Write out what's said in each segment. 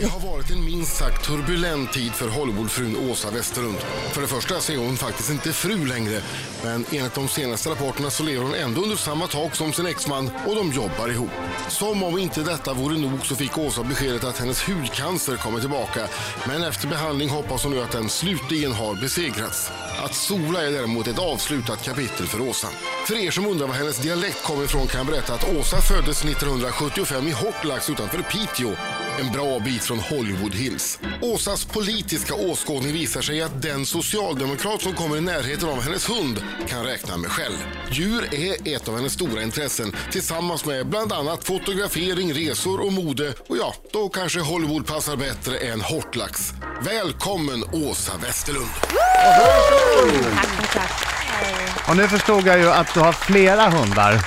Det har varit en minst sagt turbulent tid för Hollywoodfrun Åsa Westerlund. För det första så är hon faktiskt inte fru längre. Men enligt de senaste rapporterna så lever hon ändå under samma tak som sin exman och de jobbar ihop. Som om inte detta vore nog så fick Åsa beskedet att hennes hudcancer kommer tillbaka. Men efter behandling hoppas hon nu att den slutligen har besegrats. Att sola är däremot ett avslutat kapitel för Åsa. För er som undrar var hennes dialekt kommer ifrån kan jag berätta att Åsa föddes 1975 i Hotlax utanför Piteå. En bra bit från Hollywood Hills. Åsas politiska åskådning visar sig att den socialdemokrat som kommer i närheten av hennes hund kan räkna med skäll. Djur är ett av hennes stora intressen tillsammans med bland annat fotografering, resor och mode. Och ja, då kanske Hollywood passar bättre än Hotlax. Välkommen Åsa Westerlund! Tack, tack. Och nu förstod jag ju att du har flera hundar.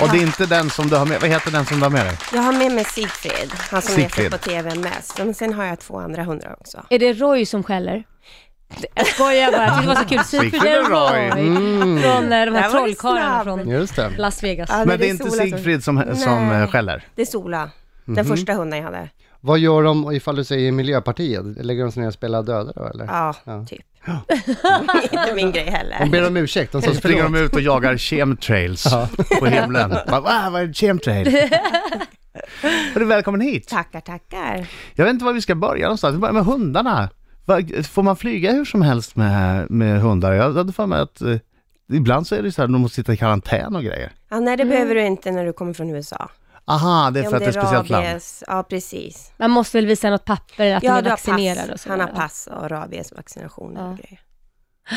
Och det är inte den som du har med Vad heter den som du har med dig? Jag har med mig Sigfrid, han som jag ser Sigfrid. på tv mest. Men sen har jag två andra hundar också. Är det Roy som skäller? Jag skojar bara, jag tyckte det var så kul. Sigfrid och Sigfrid Roy. Roy. Från eh, de Där var här du trollkarlarna snabb. från Just det. Las Vegas. Ja, Men det är Sola inte Sigfrid Mhm. som, som Nej. eh, skäller. Det är Sola, den första hunden jag hade. Vad gör de ifall du säger Miljöpartiet? Lägger de sig ner och spelar döda då eller? Ja, typ. inte min grej De heller. ber om ursäkt, de sa Så springer de förlåt. ut och jagar chemtrails på himlen. Bara, "Ah, vad är en chemtrail? Hörru, välkommen hit. Tackar, tackar. Jag vet inte var vi ska börja någonstans. Vi börjar med hundarna. Va- Får man flyga hur som helst med, med hundar? Jag hade för mig att eh, ibland så är det så här att de måste sitta i karantän och grejer. Ja, nej, det behöver du inte när du kommer från USA. Aha, det är för att det är ett speciellt land. rabies, ja precis. Man måste väl visa något papper att man Ja, är du har vaccinerad och pass. så. Han har pass och rabiesvaccinationer och grejer.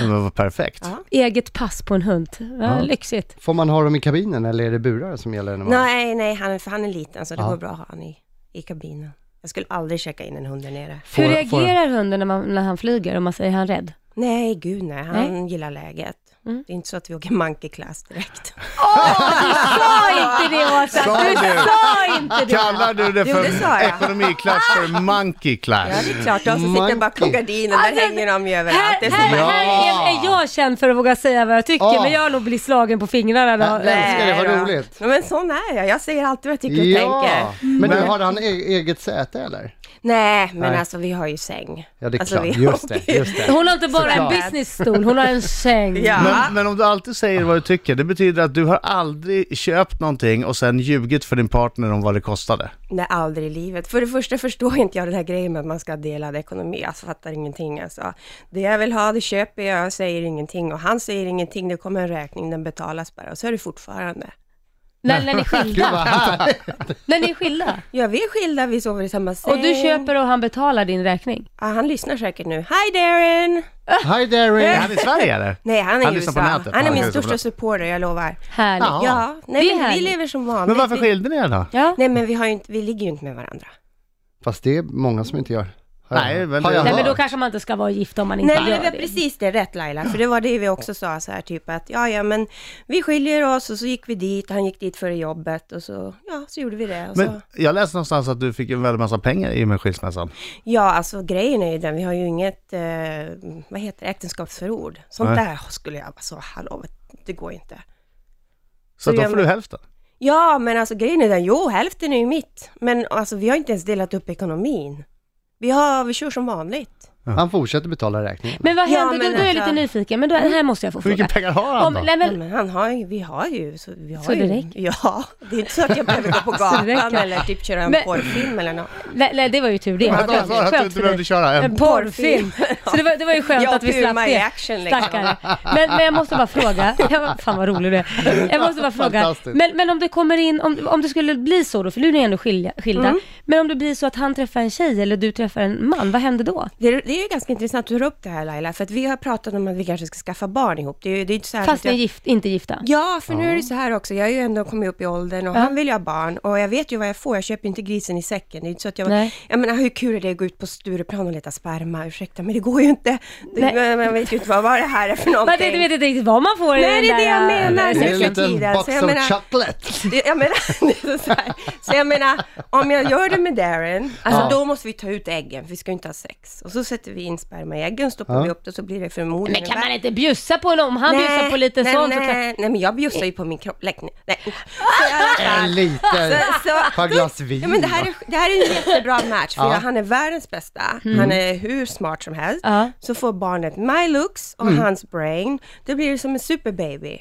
Det var perfekt. Ja. Eget pass på en hund. Ja, Lyxigt. Får man ha dem i kabinen eller är det burar som gäller? När man... Nej, nej, han, är- för han är liten så det går bra att ha han i, i kabinen. Jag skulle aldrig checka in en hund där nere. Får- Hur får- reagerar hunden när, man, när han flyger? Om man säger han är rädd? Nej, gud nej. Mm. Han gillar läget. Det är inte så att vi åker monkey class direkt. Sa inte det Åsa! Sa Du du? sa inte det! Kallar du det Jo, för det sa jag. ekonomiklass för monkey Ja, class? det är klart. De som sitter bakom Monkey. gardinen, där Alltså, hänger de ju överallt. Det Här, är så här, här är, är jag känd för att våga säga vad jag tycker, Ja. men jag har nog blivit slagen på fingrarna. Då. Ja, nej. älskar det, vad Nej då. roligt. Ja, men sån är jag. Jag säger alltid vad jag tycker och tänker. Men du, har han e- eget säte eller? Nej, men Nej. alltså vi har ju säng. Ja, det är alltså, klart. vi Just åker det, ju- just det. Hon har inte bara Såklart. en businessstol, hon har en säng. Ja. Men, men om du alltid säger vad du tycker, det betyder att du har aldrig köpt någonting och sen ljugit för din partner om vad det kostade. Nej, aldrig i livet. För det första förstår inte jag den här grejen med att man ska ha delad ekonomi. Jag fattar ingenting alltså. Det jag vill ha, det köper jag. Jag säger ingenting och han säger ingenting. Det kommer en räkning, den betalas bara. Och så är det fortfarande. När, när ni är skilda. när ni är skilda. Ja, vi är skilda, Eh. vi sover i samma säng. Och du köper och han betalar din räkning. Ja, han lyssnar säkert nu. Hi Darren! Hi Darren! Är han i Sverige eller? Nej, han är Han i lyssnar USA. på nätet. Han är Ja, min okej, så största bra. supporter, jag lovar. Härligt. Ja. Ja, Det nej, är men vi härligt. lever som vanligt. Ah. Men varför Vi- skilde ni er då? Ja. Nej, men vi, har ju inte, vi ligger ju inte med varandra. Fast det är många som inte gör. Har jag- Nej, men har det- jag Nej men då hört. kanske man inte ska vara gift om man inte Nej, men gör det var det. precis det. Rätt Laila. För det var det vi också sa så här, typ att ja, ja, men vi skiljer oss och så gick vi dit. Han gick dit före jobbet och så, ja, så gjorde vi det. Och så. Men jag läste någonstans att du fick en väldig massa pengar i och med skilsmässan. Ja, alltså grejen är ju den, vi har ju inget, eh, vad heter det, äktenskapsförord. Sånt Nej. där skulle jag, alltså hallå, det går ju inte. Så Så då jag- får du hälften. Ja, men alltså grejen är den, jo, hälften är ju mitt. Men alltså vi har inte ens delat upp ekonomin. Vi, har, vi kör som vanligt. Han fortsätter betala räkningen. Men vad Ja, händer, men då, då är jag lite alltså- nyfiken, men då, här måste jag få Hur fråga. mycket pengar har han Om, då? nej, Ja, men, men han har ju, vi har ju, så vi har Så det ju. räcker? Ja, det är inte så att jag behöver gå på Så det gatan räcker? eller typ köra en Men- porrfilm eller något. nej, nej, det var ju tur det. Men de sa att du Skönt inte för dig. behövde köra en. En porrfilm. Så det var, det var ju skönt Ja, att vi Puma slapp i det. action, liksom. Stackare. Men, men jag måste bara fråga. Ja, Fan vad rolig du är. Jag måste bara fråga. Fantastiskt. Men, men om det kommer in, om, om det skulle bli så då, för nu är ni ändå skilja, skilda. Mm. Men om det blir så att han träffar en tjej eller du träffar en man, vad händer då? Det är, det är ju ganska intressant att du tar upp det här Laila, för att vi har pratat om att vi kanske ska skaffa barn ihop. Det är ju det är ju inte så här Fast att ni är jag... gift, inte gifta? Ja, för nu är det så här också, jag har ju ändå kommit upp i åldern och han vill ju ha barn och jag vet ju vad jag får, jag köper ju inte grisen i säcken. Det är ju inte så att jag... Nej. Jag menar, hur kul är det att gå ut på Stureplan och leta sperma? Ursäkta, men det går ju inte. Det, Nej. men man vet ju inte vad, vad det här är för någonting. Man vet, vet inte riktigt vad man får i Nej, den det är det jag där, äh, menar. Det är en Säkert liten tiden, box så jag of menar- chocolate. Det- Jag menar, det är så, här. så jag menar, om jag gör det med Darren, alltså då måste vi ta ut äggen, för vi ska ju inte ha sex. Och så sätter vi in sperma i äggen, stoppar Ja. vi upp det så blir det Men förmodligen kan man inte bjussa på honom? Om han bjussar på lite nej, sånt så kan... Ah! nej, nej, men jag bjussar ju på min kropp. Lägg ner. Nej. Så i alla fall- En liten. Alltså, så, par glas vin, Ja, men det, här är, det här är en jättebra match, för Ja. han är världens bästa. Han är hur smart som helst. Ja. Så får barnet my looks och hans brain. Det blir som en superbaby.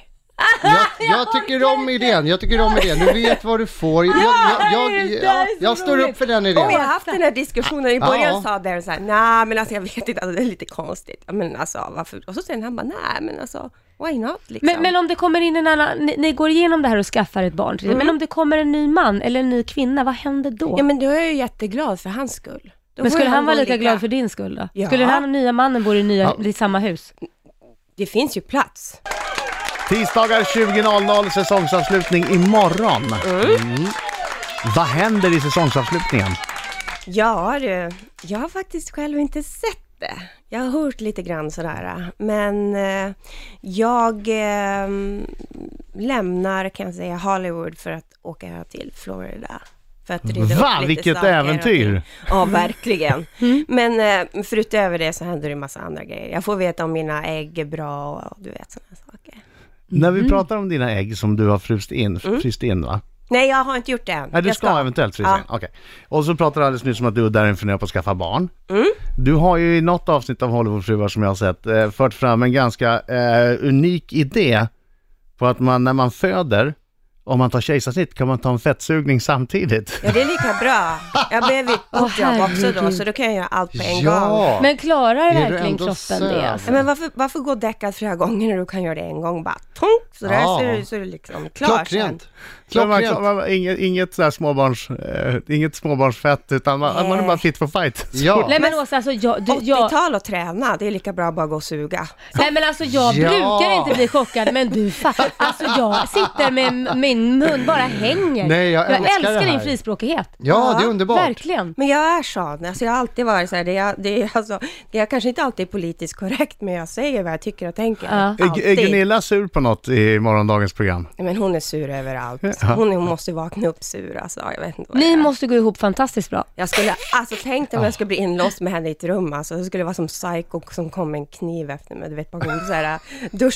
Jag, jag tycker om idén, jag tycker om idén. Du vet vad du får. Jag, jag, jag, det jag, där är så jag står roligt. upp för den Och vi har idén. haft den här diskussionen, i början Ja. sa Darren såhär, nej men alltså jag vet inte, alltså, det är lite konstigt. Ja, Men alltså varför? Och så sen han bara, nej men alltså, why not liksom. Men, men om det kommer in en annan, ni, ni går igenom det här och skaffar ett barn, till det. men om det kommer en ny man eller en ny kvinna, vad händer då? Mm. ja men då är jag ju jätteglad för hans skull. Då men får skulle ju han vara gå lika glad för din skull då? Ja. Skulle han och nya mannen bo i, nya, i samma hus? Det finns ju plats. Tisdagar 20.00, säsongsavslutning imorgon. Mm. Vad händer i säsongsavslutningen? Ja du, jag har faktiskt själv inte sett det. Jag har hört lite grann sådär. Men eh, jag eh, lämnar kan jag säga Hollywood för att åka till Florida. För att rida Va, upp lite vilket saker och äventyr! Mm. ting. Ja, verkligen. Men eh, förutöver det så händer det en massa andra grejer. Jag får veta om mina ägg är bra och du vet sådana saker. När Mm. vi pratar om dina ägg som du har fryst in, fryst in va? Nej, jag har inte gjort det än. Nej, du Mm. Jag ska, eventuellt frysa Ja. in. Okej. Och så pratar du alldeles nyss om att du och Darin funderar på att skaffa barn. Mm. Du har ju i något avsnitt av Hollywoodfruar som jag har sett eh, fört fram en ganska eh, unik idé på att man när man föder, om man tar kejsarsnitt kan man ta en fettsugning samtidigt. Ja, det är lika bra. Jag behöver ett Åh, jobb också då, herregud. så då kan jag göra allt på en gång. Ja, Men klarar Är du verkligen ändå kroppen söt? det? Alltså? Ja, men varför, varför gå däckad flera gånger när du kan göra det en gång? Bara tunk, så där Ja. så är du- så är du liksom klar sen. klockrent. Så man, Klockrent. man, inget, inget, så här småbarns, eh, inget småbarnsfett utan man, man är bara fit for fight. Ja. Nej men Åsa, alltså jag, du, jag, 80-tal och träna, det är lika bra att bara gå och suga. nej, men alltså, jag Ja. brukar inte bli chockad, men du fattar. Alltså jag sitter med min mun bara hänger. Nej, jag älskar älskar det här. din frispråkighet. Ja, det är underbart. Verkligen. Men jag är sån, alltså jag har alltid varit så här, det är, det är alltså, det är kanske inte alltid politiskt korrekt, men jag säger vad jag tycker och tänker. Ja. Är- Är Alltid. Nej, Gunilla sur på något i morgondagens program? men hon är sur överallt. Hon, hon måste vakna upp sur alltså, jag vet inte vad det Ni är. måste gå ihop fantastiskt bra. Jag skulle, alltså tänk dig om jag skulle bli inlåst med henne i ett rum alltså. Det skulle vara som psycho som kom med en kniv efter mig, du vet bakom så här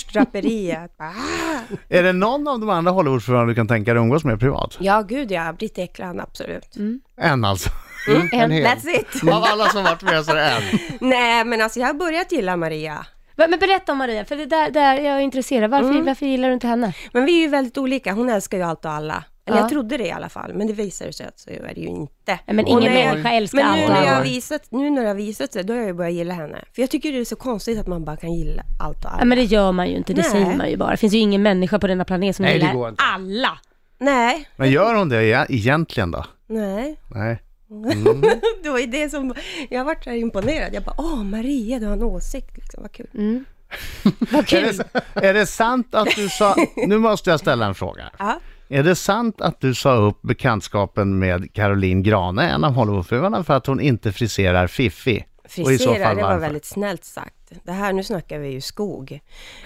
duschdraperiet. Bara, ah! Är det någon av de andra Hollywoodfruarna du kan tänka dig umgås med privat? Ja, gud ja. Britt Ekland, absolut. Mm. En alltså. Mm, En hel. That's it. Av alla som varit med så är det en. Nej, men alltså jag har börjat gilla Maria. Va- Men berätta om Maria, för det där, där jag är intresserad. Varför, Mm. varför gillar du inte henne? Men vi är ju väldigt olika. Hon älskar ju allt och alla. Eller Ja. jag trodde det i alla fall, men det visade sig att så är det ju inte. Nej, men Och ingen när jag- människa älskar Men nu allt och när, jag alla. har visat, nu när det har visat sig, då har jag ju börjat gilla henne. För jag tycker det är så konstigt att man bara kan gilla allt och alla. Nej men det gör man ju inte, det Nej. säger man ju bara. Det finns ju ingen människa på denna planet som Nej, det går gillar inte. alla. Nej, Men gör hon det e- egentligen då? nej. Nej. Mm. Det var ju det som... Jag vart så här imponerad. Jag bara, åh Maria, du har en åsikt liksom. Vad kul. Vad Är kul. det, är det sant att du sa... Nu måste jag ställa en fråga. Ja. Är det sant att du sa upp bekantskapen med Caroline Grane, en av Hollywoodfruarna, för att hon inte friserar Fiffi? Och i så Frisera, fall det var varför? väldigt snällt sagt. Det här, nu snackar vi ju skog.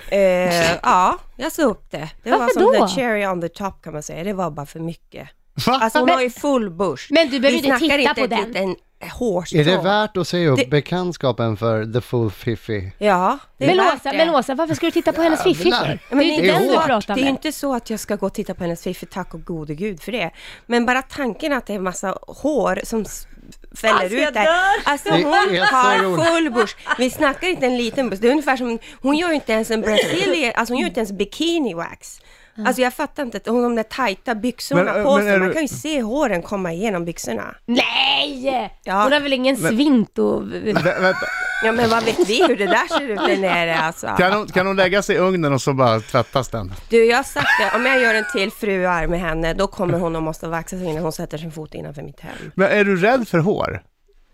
Eh, ja, jag sa upp det. Det var Varför som då? the cherry on the top kan man säga. Det var bara för mycket. Va? Alltså hon har ju full börs. Men du behöver inte titta på den. Vi snackar inte typ ett litet hårstrå. Är det värt att säga upp Det- bekantskapen för The Full Fifty? Ja, det är Men värt Åsa, det. men Åsa, varför ska du titta på hennes fiffi för? Jävlar. Det är ju inte det är den du hårt. pratar Det är ju med. inte så att jag ska gå och titta på hennes fiffi, tack och gode gud för det. Men bara tanken att det är massa hår som s- fäller Alltså, jag ut där. dör. Alltså Det hon är så har roligt. full bush. Vi snackar inte en liten bush. Det är ungefär som, hon gör ju inte ens en Brazilian, alltså hon gör inte ens bikini wax. Mm. Alltså jag fattar inte, att hon har de där tajta byxorna Men, äh, på men är sig, man du- kan ju se håren komma igenom byxorna. Nej! Ja. Hon har väl ingen svint och... Vä- vänta. Ja men vad vet vi hur det där ser ut där nere alltså. Kan hon, kan hon lägga sig i ugnen och så bara tvättas den? Du, jag har sagt det, om jag gör en till fruar med henne, då kommer hon och måste vaxa sig innan hon sätter sin fot innanför mitt hem. Men är du rädd för hår?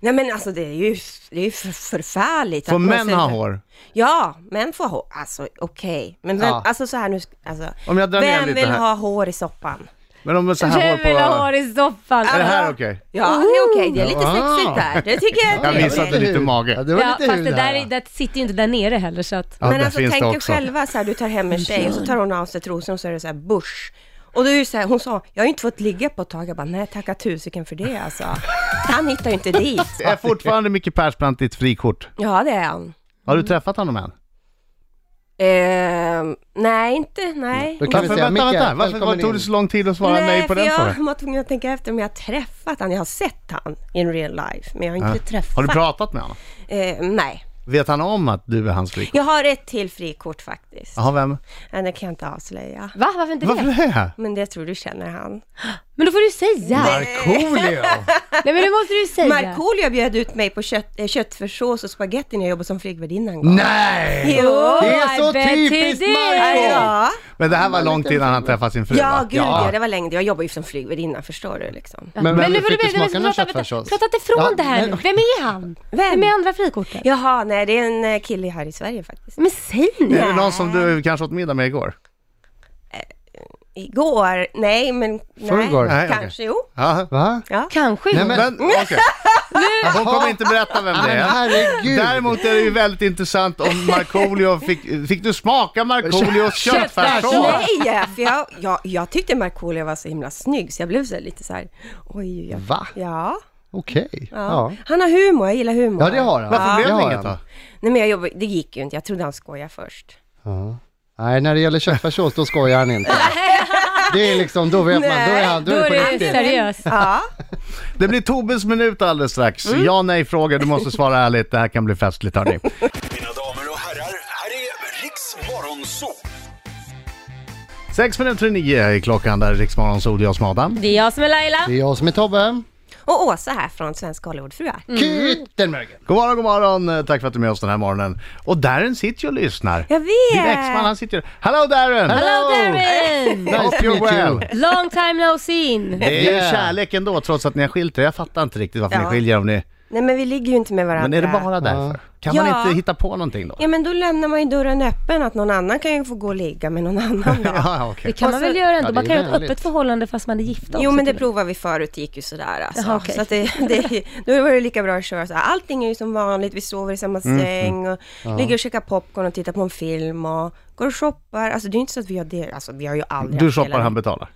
Nej men alltså det är ju, det är ju för, förfärligt. Får att man män säger- ha hår? Ja, män får hår. Alltså okej. Men vem, Ja. alltså så här nu, alltså. Om jag drar ner vem lite vill här. ha hår i soppan? Men om så här hår Vem på... vill ha hår i soffan? Är det här okej? Ja, det är okej. Det är lite Ja. sexigt där. Det tycker jag är Jag trevligt. visade det lite mage. Ja, det var Ja, lite fast hud det där är, här. det sitter ju inte där nere heller så att... Ja, men där alltså finns tänk det er också. själva så här, du tar hem en tjej och så tar hon av sig trosorna och så är det så här bush. Och då är det så här, hon sa, jag har ju inte fått ligga på ett tag. Jag bara, nej tacka tusiken för det alltså. Han hittar ju inte dit. Är fortfarande Micke Persbrandt ditt frikort? Ja, det är han. Har Mm. du träffat honom än? Ehm, nej, inte, nej. Då kan Varför, vi säga, vänta, Micke, vänta, varför välkommen var, tog in. det så lång tid att svara nej, på för den jag frågan? var tvungen att tänka efter om jag har träffat han. Jag har sett han in real life, men jag har inte träffat. Äh, Har du pratat med honom? Eh, nej. Vet han om att du är hans frikort? Jag har ett till frikort faktiskt. Jaha, vem? Nej, det kan jag inte avslöja. Va? Varför inte Varför det? det? Men det tror du känner han. Men då får du säga. Nej, Markoolio! men det måste du säga. Markoolio bjöd ut mig på kött, eh, köttfärssås och spagetti när jag jobbade som flygvärdinna en gång. Nej! Jo! Det är så I bet he typiskt did. Marko! Ja, Men det här var långt innan han träffade sin fru ja va? gud ja. det var länge. Jag jobbade ju som flygvärdinna, förstår du liksom. Men vem nu får fick du du smaka någon prata, prata, köttfärssås? prata inte ifrån Ja, det här men- nu. Vem är han? Vem är andra frikortet? Jaha, nej det är en eh, kille här i Sverige faktiskt. Men säg nu. Är det någon som du kanske åt middag med igår? Igår? Nej, men... Nej, Förrgår? Nej, okej. Kanske, jo. Ja. Va? Ja. Kanske. Nej, men- Men okej, hon kommer inte berätta vem det Men är. herregud! Däremot är det ju väldigt intressant om Markoolio fick, fick du smaka Markoolios köttfärssås? Nej, ja, för jag, jag, jag tyckte Markoolio var så himla snygg, så jag blev så här lite så här... Oj, jag, Va? Ja, Okej. ja. Ja. Han har humor, jag gillar humor. ja, det har han. Varför Det blev det har inget han. då? Nej, men jag jobbade, det gick ju inte. Jag trodde han skojade först. Ja. Nej, när det gäller köttfärssås då skojar han inte. Det är liksom, då vet man, då är han, då Då är det är på du riktigt. seriös. Ja, Det blir Tobes minut alldeles strax. Mm. Ja nej fråga, du måste svara ärligt. Det här kan bli festligt hörni. Mina damer och herrar, här är Riks Morgonzoo! Sex minuter i nio är klockan där Riksmorgon Sol, jag som Adam. Det är jag som är Laila. Det är jag som är Tobbe. och Åsa här från Svenska Hollywoodfruar. Mm. Mm. Kyttenmögel! God morgon, god morgon. Eh, Tack för att du är med oss den här morgonen. Och Darren sitter ju och lyssnar. Jag vet! Din exman han sitter ju... Hello Darren! Hello Darren! Nice Hope to you're meet you. well. Long time no seen. Det är ju Yeah. kärlek ändå trots att ni har skilt er. Jag fattar inte riktigt varför Ja. ni skiljer om ni... Nej, men vi ligger ju inte med varandra. Men är det bara därför? Kan man Ja. inte hitta på någonting då? Ja, men då lämnar man ju dörren öppen att någon annan kan ju få gå och ligga med någon annan. då. Ja, Det okej. kan Och man så- väl göra ändå? Ja, det man är kan ju ha ett vänligt. öppet förhållande fast man är gifta Jo också, men det till provade vi förut, det gick ju sådär alltså. Jaha, okej. Så att det, det, då var det lika bra att köra så här. Allting är ju som vanligt, vi sover i samma Mm, säng och ligger och käkar popcorn och tittar på en film och går och shoppar. Alltså det är ju inte så att vi har det, alltså vi har ju aldrig Du haft shoppar, hela- han betalar.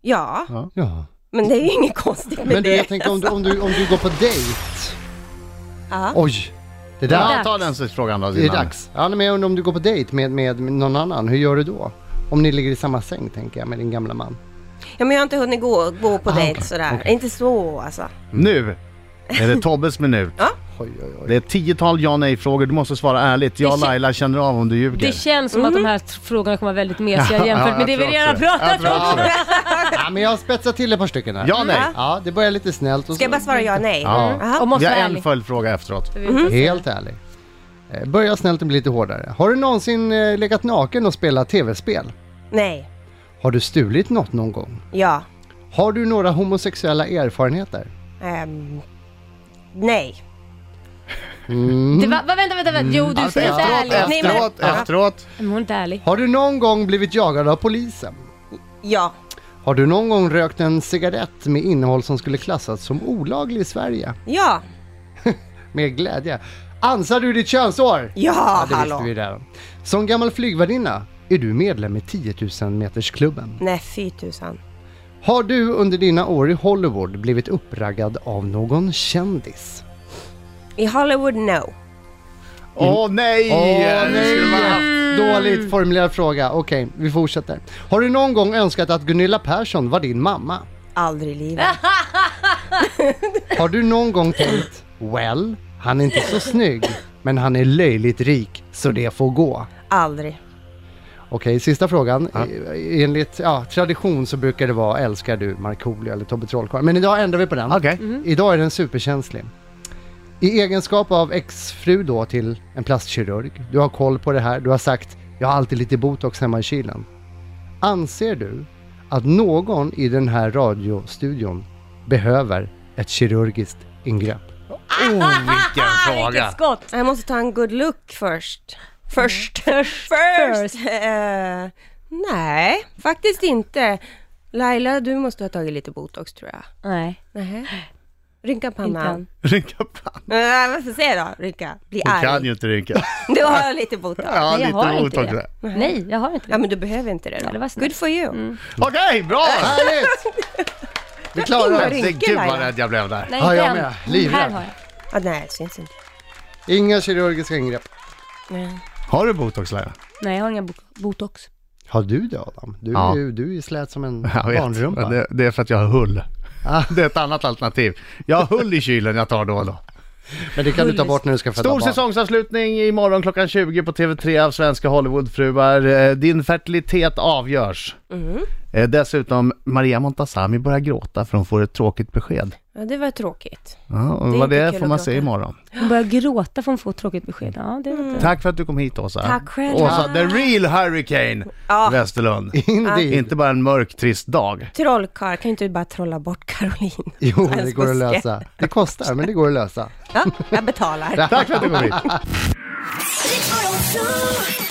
Ja, Ja. men det är ju inget konstigt med Men du, det. jag tänkte om du, om du, om du går på dejt. Ja. Oj! Det där, Ja, ta den sista frågan då. det är innan. dags. Ja, men jag undrar om du går på dejt med, med någon annan, hur gör du då? Om ni ligger i samma säng tänker jag med din gamla man. Ja men jag har inte hunnit gå, gå Ah, på dejt sådär. Inte så alltså. Nu är det Tobbes minut. Oj, oj, oj. Det är ett tiotal ja nej-frågor. Du måste svara ärligt. Jag och Det kän- Laila känner av om du ljuger. Det känns som att de här t- frågorna kommer vara väldigt mesiga Ja, jag jämfört med det vi tror redan också det. Jag pratat tror om. också det. Ja, men jag har spetsat till ett par stycken här. Ja, nej. Ja, det börjar lite snällt. Och Ska jag bara svara ja nej? Ja. Aha. Och Mm. måste Vi har vara en ärlig. följdfråga efteråt. Mm. Helt ärlig. Eh, Börja snällt och bli lite hårdare. Har du någonsin eh, legat naken och spelat tv-spel? Nej. Har du stulit något någon gång? Ja. Har du några homosexuella erfarenheter? Ehm, nej. Det var, va, vänta, vänta, vänta. Jo, du Alltså, är inte efteråt, ärlig. Nej, men, efteråt, efteråt. men hon är inte ärlig. Har du någon gång blivit jagad av polisen? Ja. Har du någon gång rökt en cigarett med innehåll som skulle klassas som olaglig i Sverige? Ja. Med glädje. Ansar du ditt könsår? Ja, det hallå. visste vi redan. Som gammal flygvärdinna är du medlem i 10 000 metersklubben. Nej, fy tusan. Har du under dina år i Hollywood blivit uppraggad av någon kändis? I Hollywood, no. Åh nej! Åh Det skulle man haft. nej! Dåligt formulerad fråga. Okej, vi fortsätter. Har du någon gång önskat att Gunilla Persson var din mamma? Aldrig i livet. Har du någon gång tänkt Well, han är inte så snygg, men han är löjligt rik, så det får gå. Aldrig. Okej, sista frågan. E- Enligt ja, tradition så brukar det vara älskar du Markoolio eller Tobbe Trollkarl? Men idag ändrar vi på den. Okej. Idag är den superkänslig. I egenskap av exfru då till en plastkirurg, du har koll på det här, du har sagt jag har alltid lite botox hemma i kylen. Anser du att någon i den här radiostudion behöver ett kirurgiskt ingrepp? Oh, vilken Vilket fråga! skott! Jag måste ta en good look först. Mm. Först. First. Eh, nej, faktiskt inte. Laila, du måste ha tagit lite botox tror jag. Nej. Nej. Rynka pannan. Pannan. Rynka pannan. Nej, varför säger jag då? Rynka. Bli Hon kan arg. ju inte rynka. Du har jag lite bot av. Ja, Nej, jag lite har ont inte också. det. Nej, jag har inte Ja, det. men du behöver inte det Mm. då. Ja, det var snällt. Good for you. Okej, bra! Härligt! Vi klarar oss. Ingvar. Herregud vad rädd jag blev där. Nej, Ja, inte jag än. med. Livrädd. Här har jag. Ja, nej, det syns inte. Inga kirurgiska ingrepp. Har du botox Laila? Nej, jag har inga bo- botox. Har du det Adam? Du, Ja. är ju- du är ju slät som en Jag vet. barnrumpa. Men Det, det är för att jag har hull. Det är ett annat alternativ. Jag har hull i kylen jag tar då och då. Men det kan du ta bort när du ska föda Stor barn. säsongsavslutning imorgon klockan 20 på TV3 av svenska Hollywoodfruar. Eh, Din fertilitet avgörs. Mm. Eh, Dessutom, Maria Montazami börjar gråta för hon får ett tråkigt besked. Ja, det var tråkigt. Ja, och Det är vad inte det kul får att man gråta. se imorgon. Hon börjar gråta för hon får ett tråkigt besked. Ja, det vet jag. Tack för att du kom hit Åsa. Tack själv. Åsa, the real hurricane Ja. Westerlund. Indeed. Inte bara en mörk, trist dag. Trollkarl, kan inte du bara trolla bort Caroline? Jo, Jag det ska går att se. lösa. Det kostar, men det går att lösa. Ja, jag betalar. Tack för att du kom hit. Riks Morgonzoo!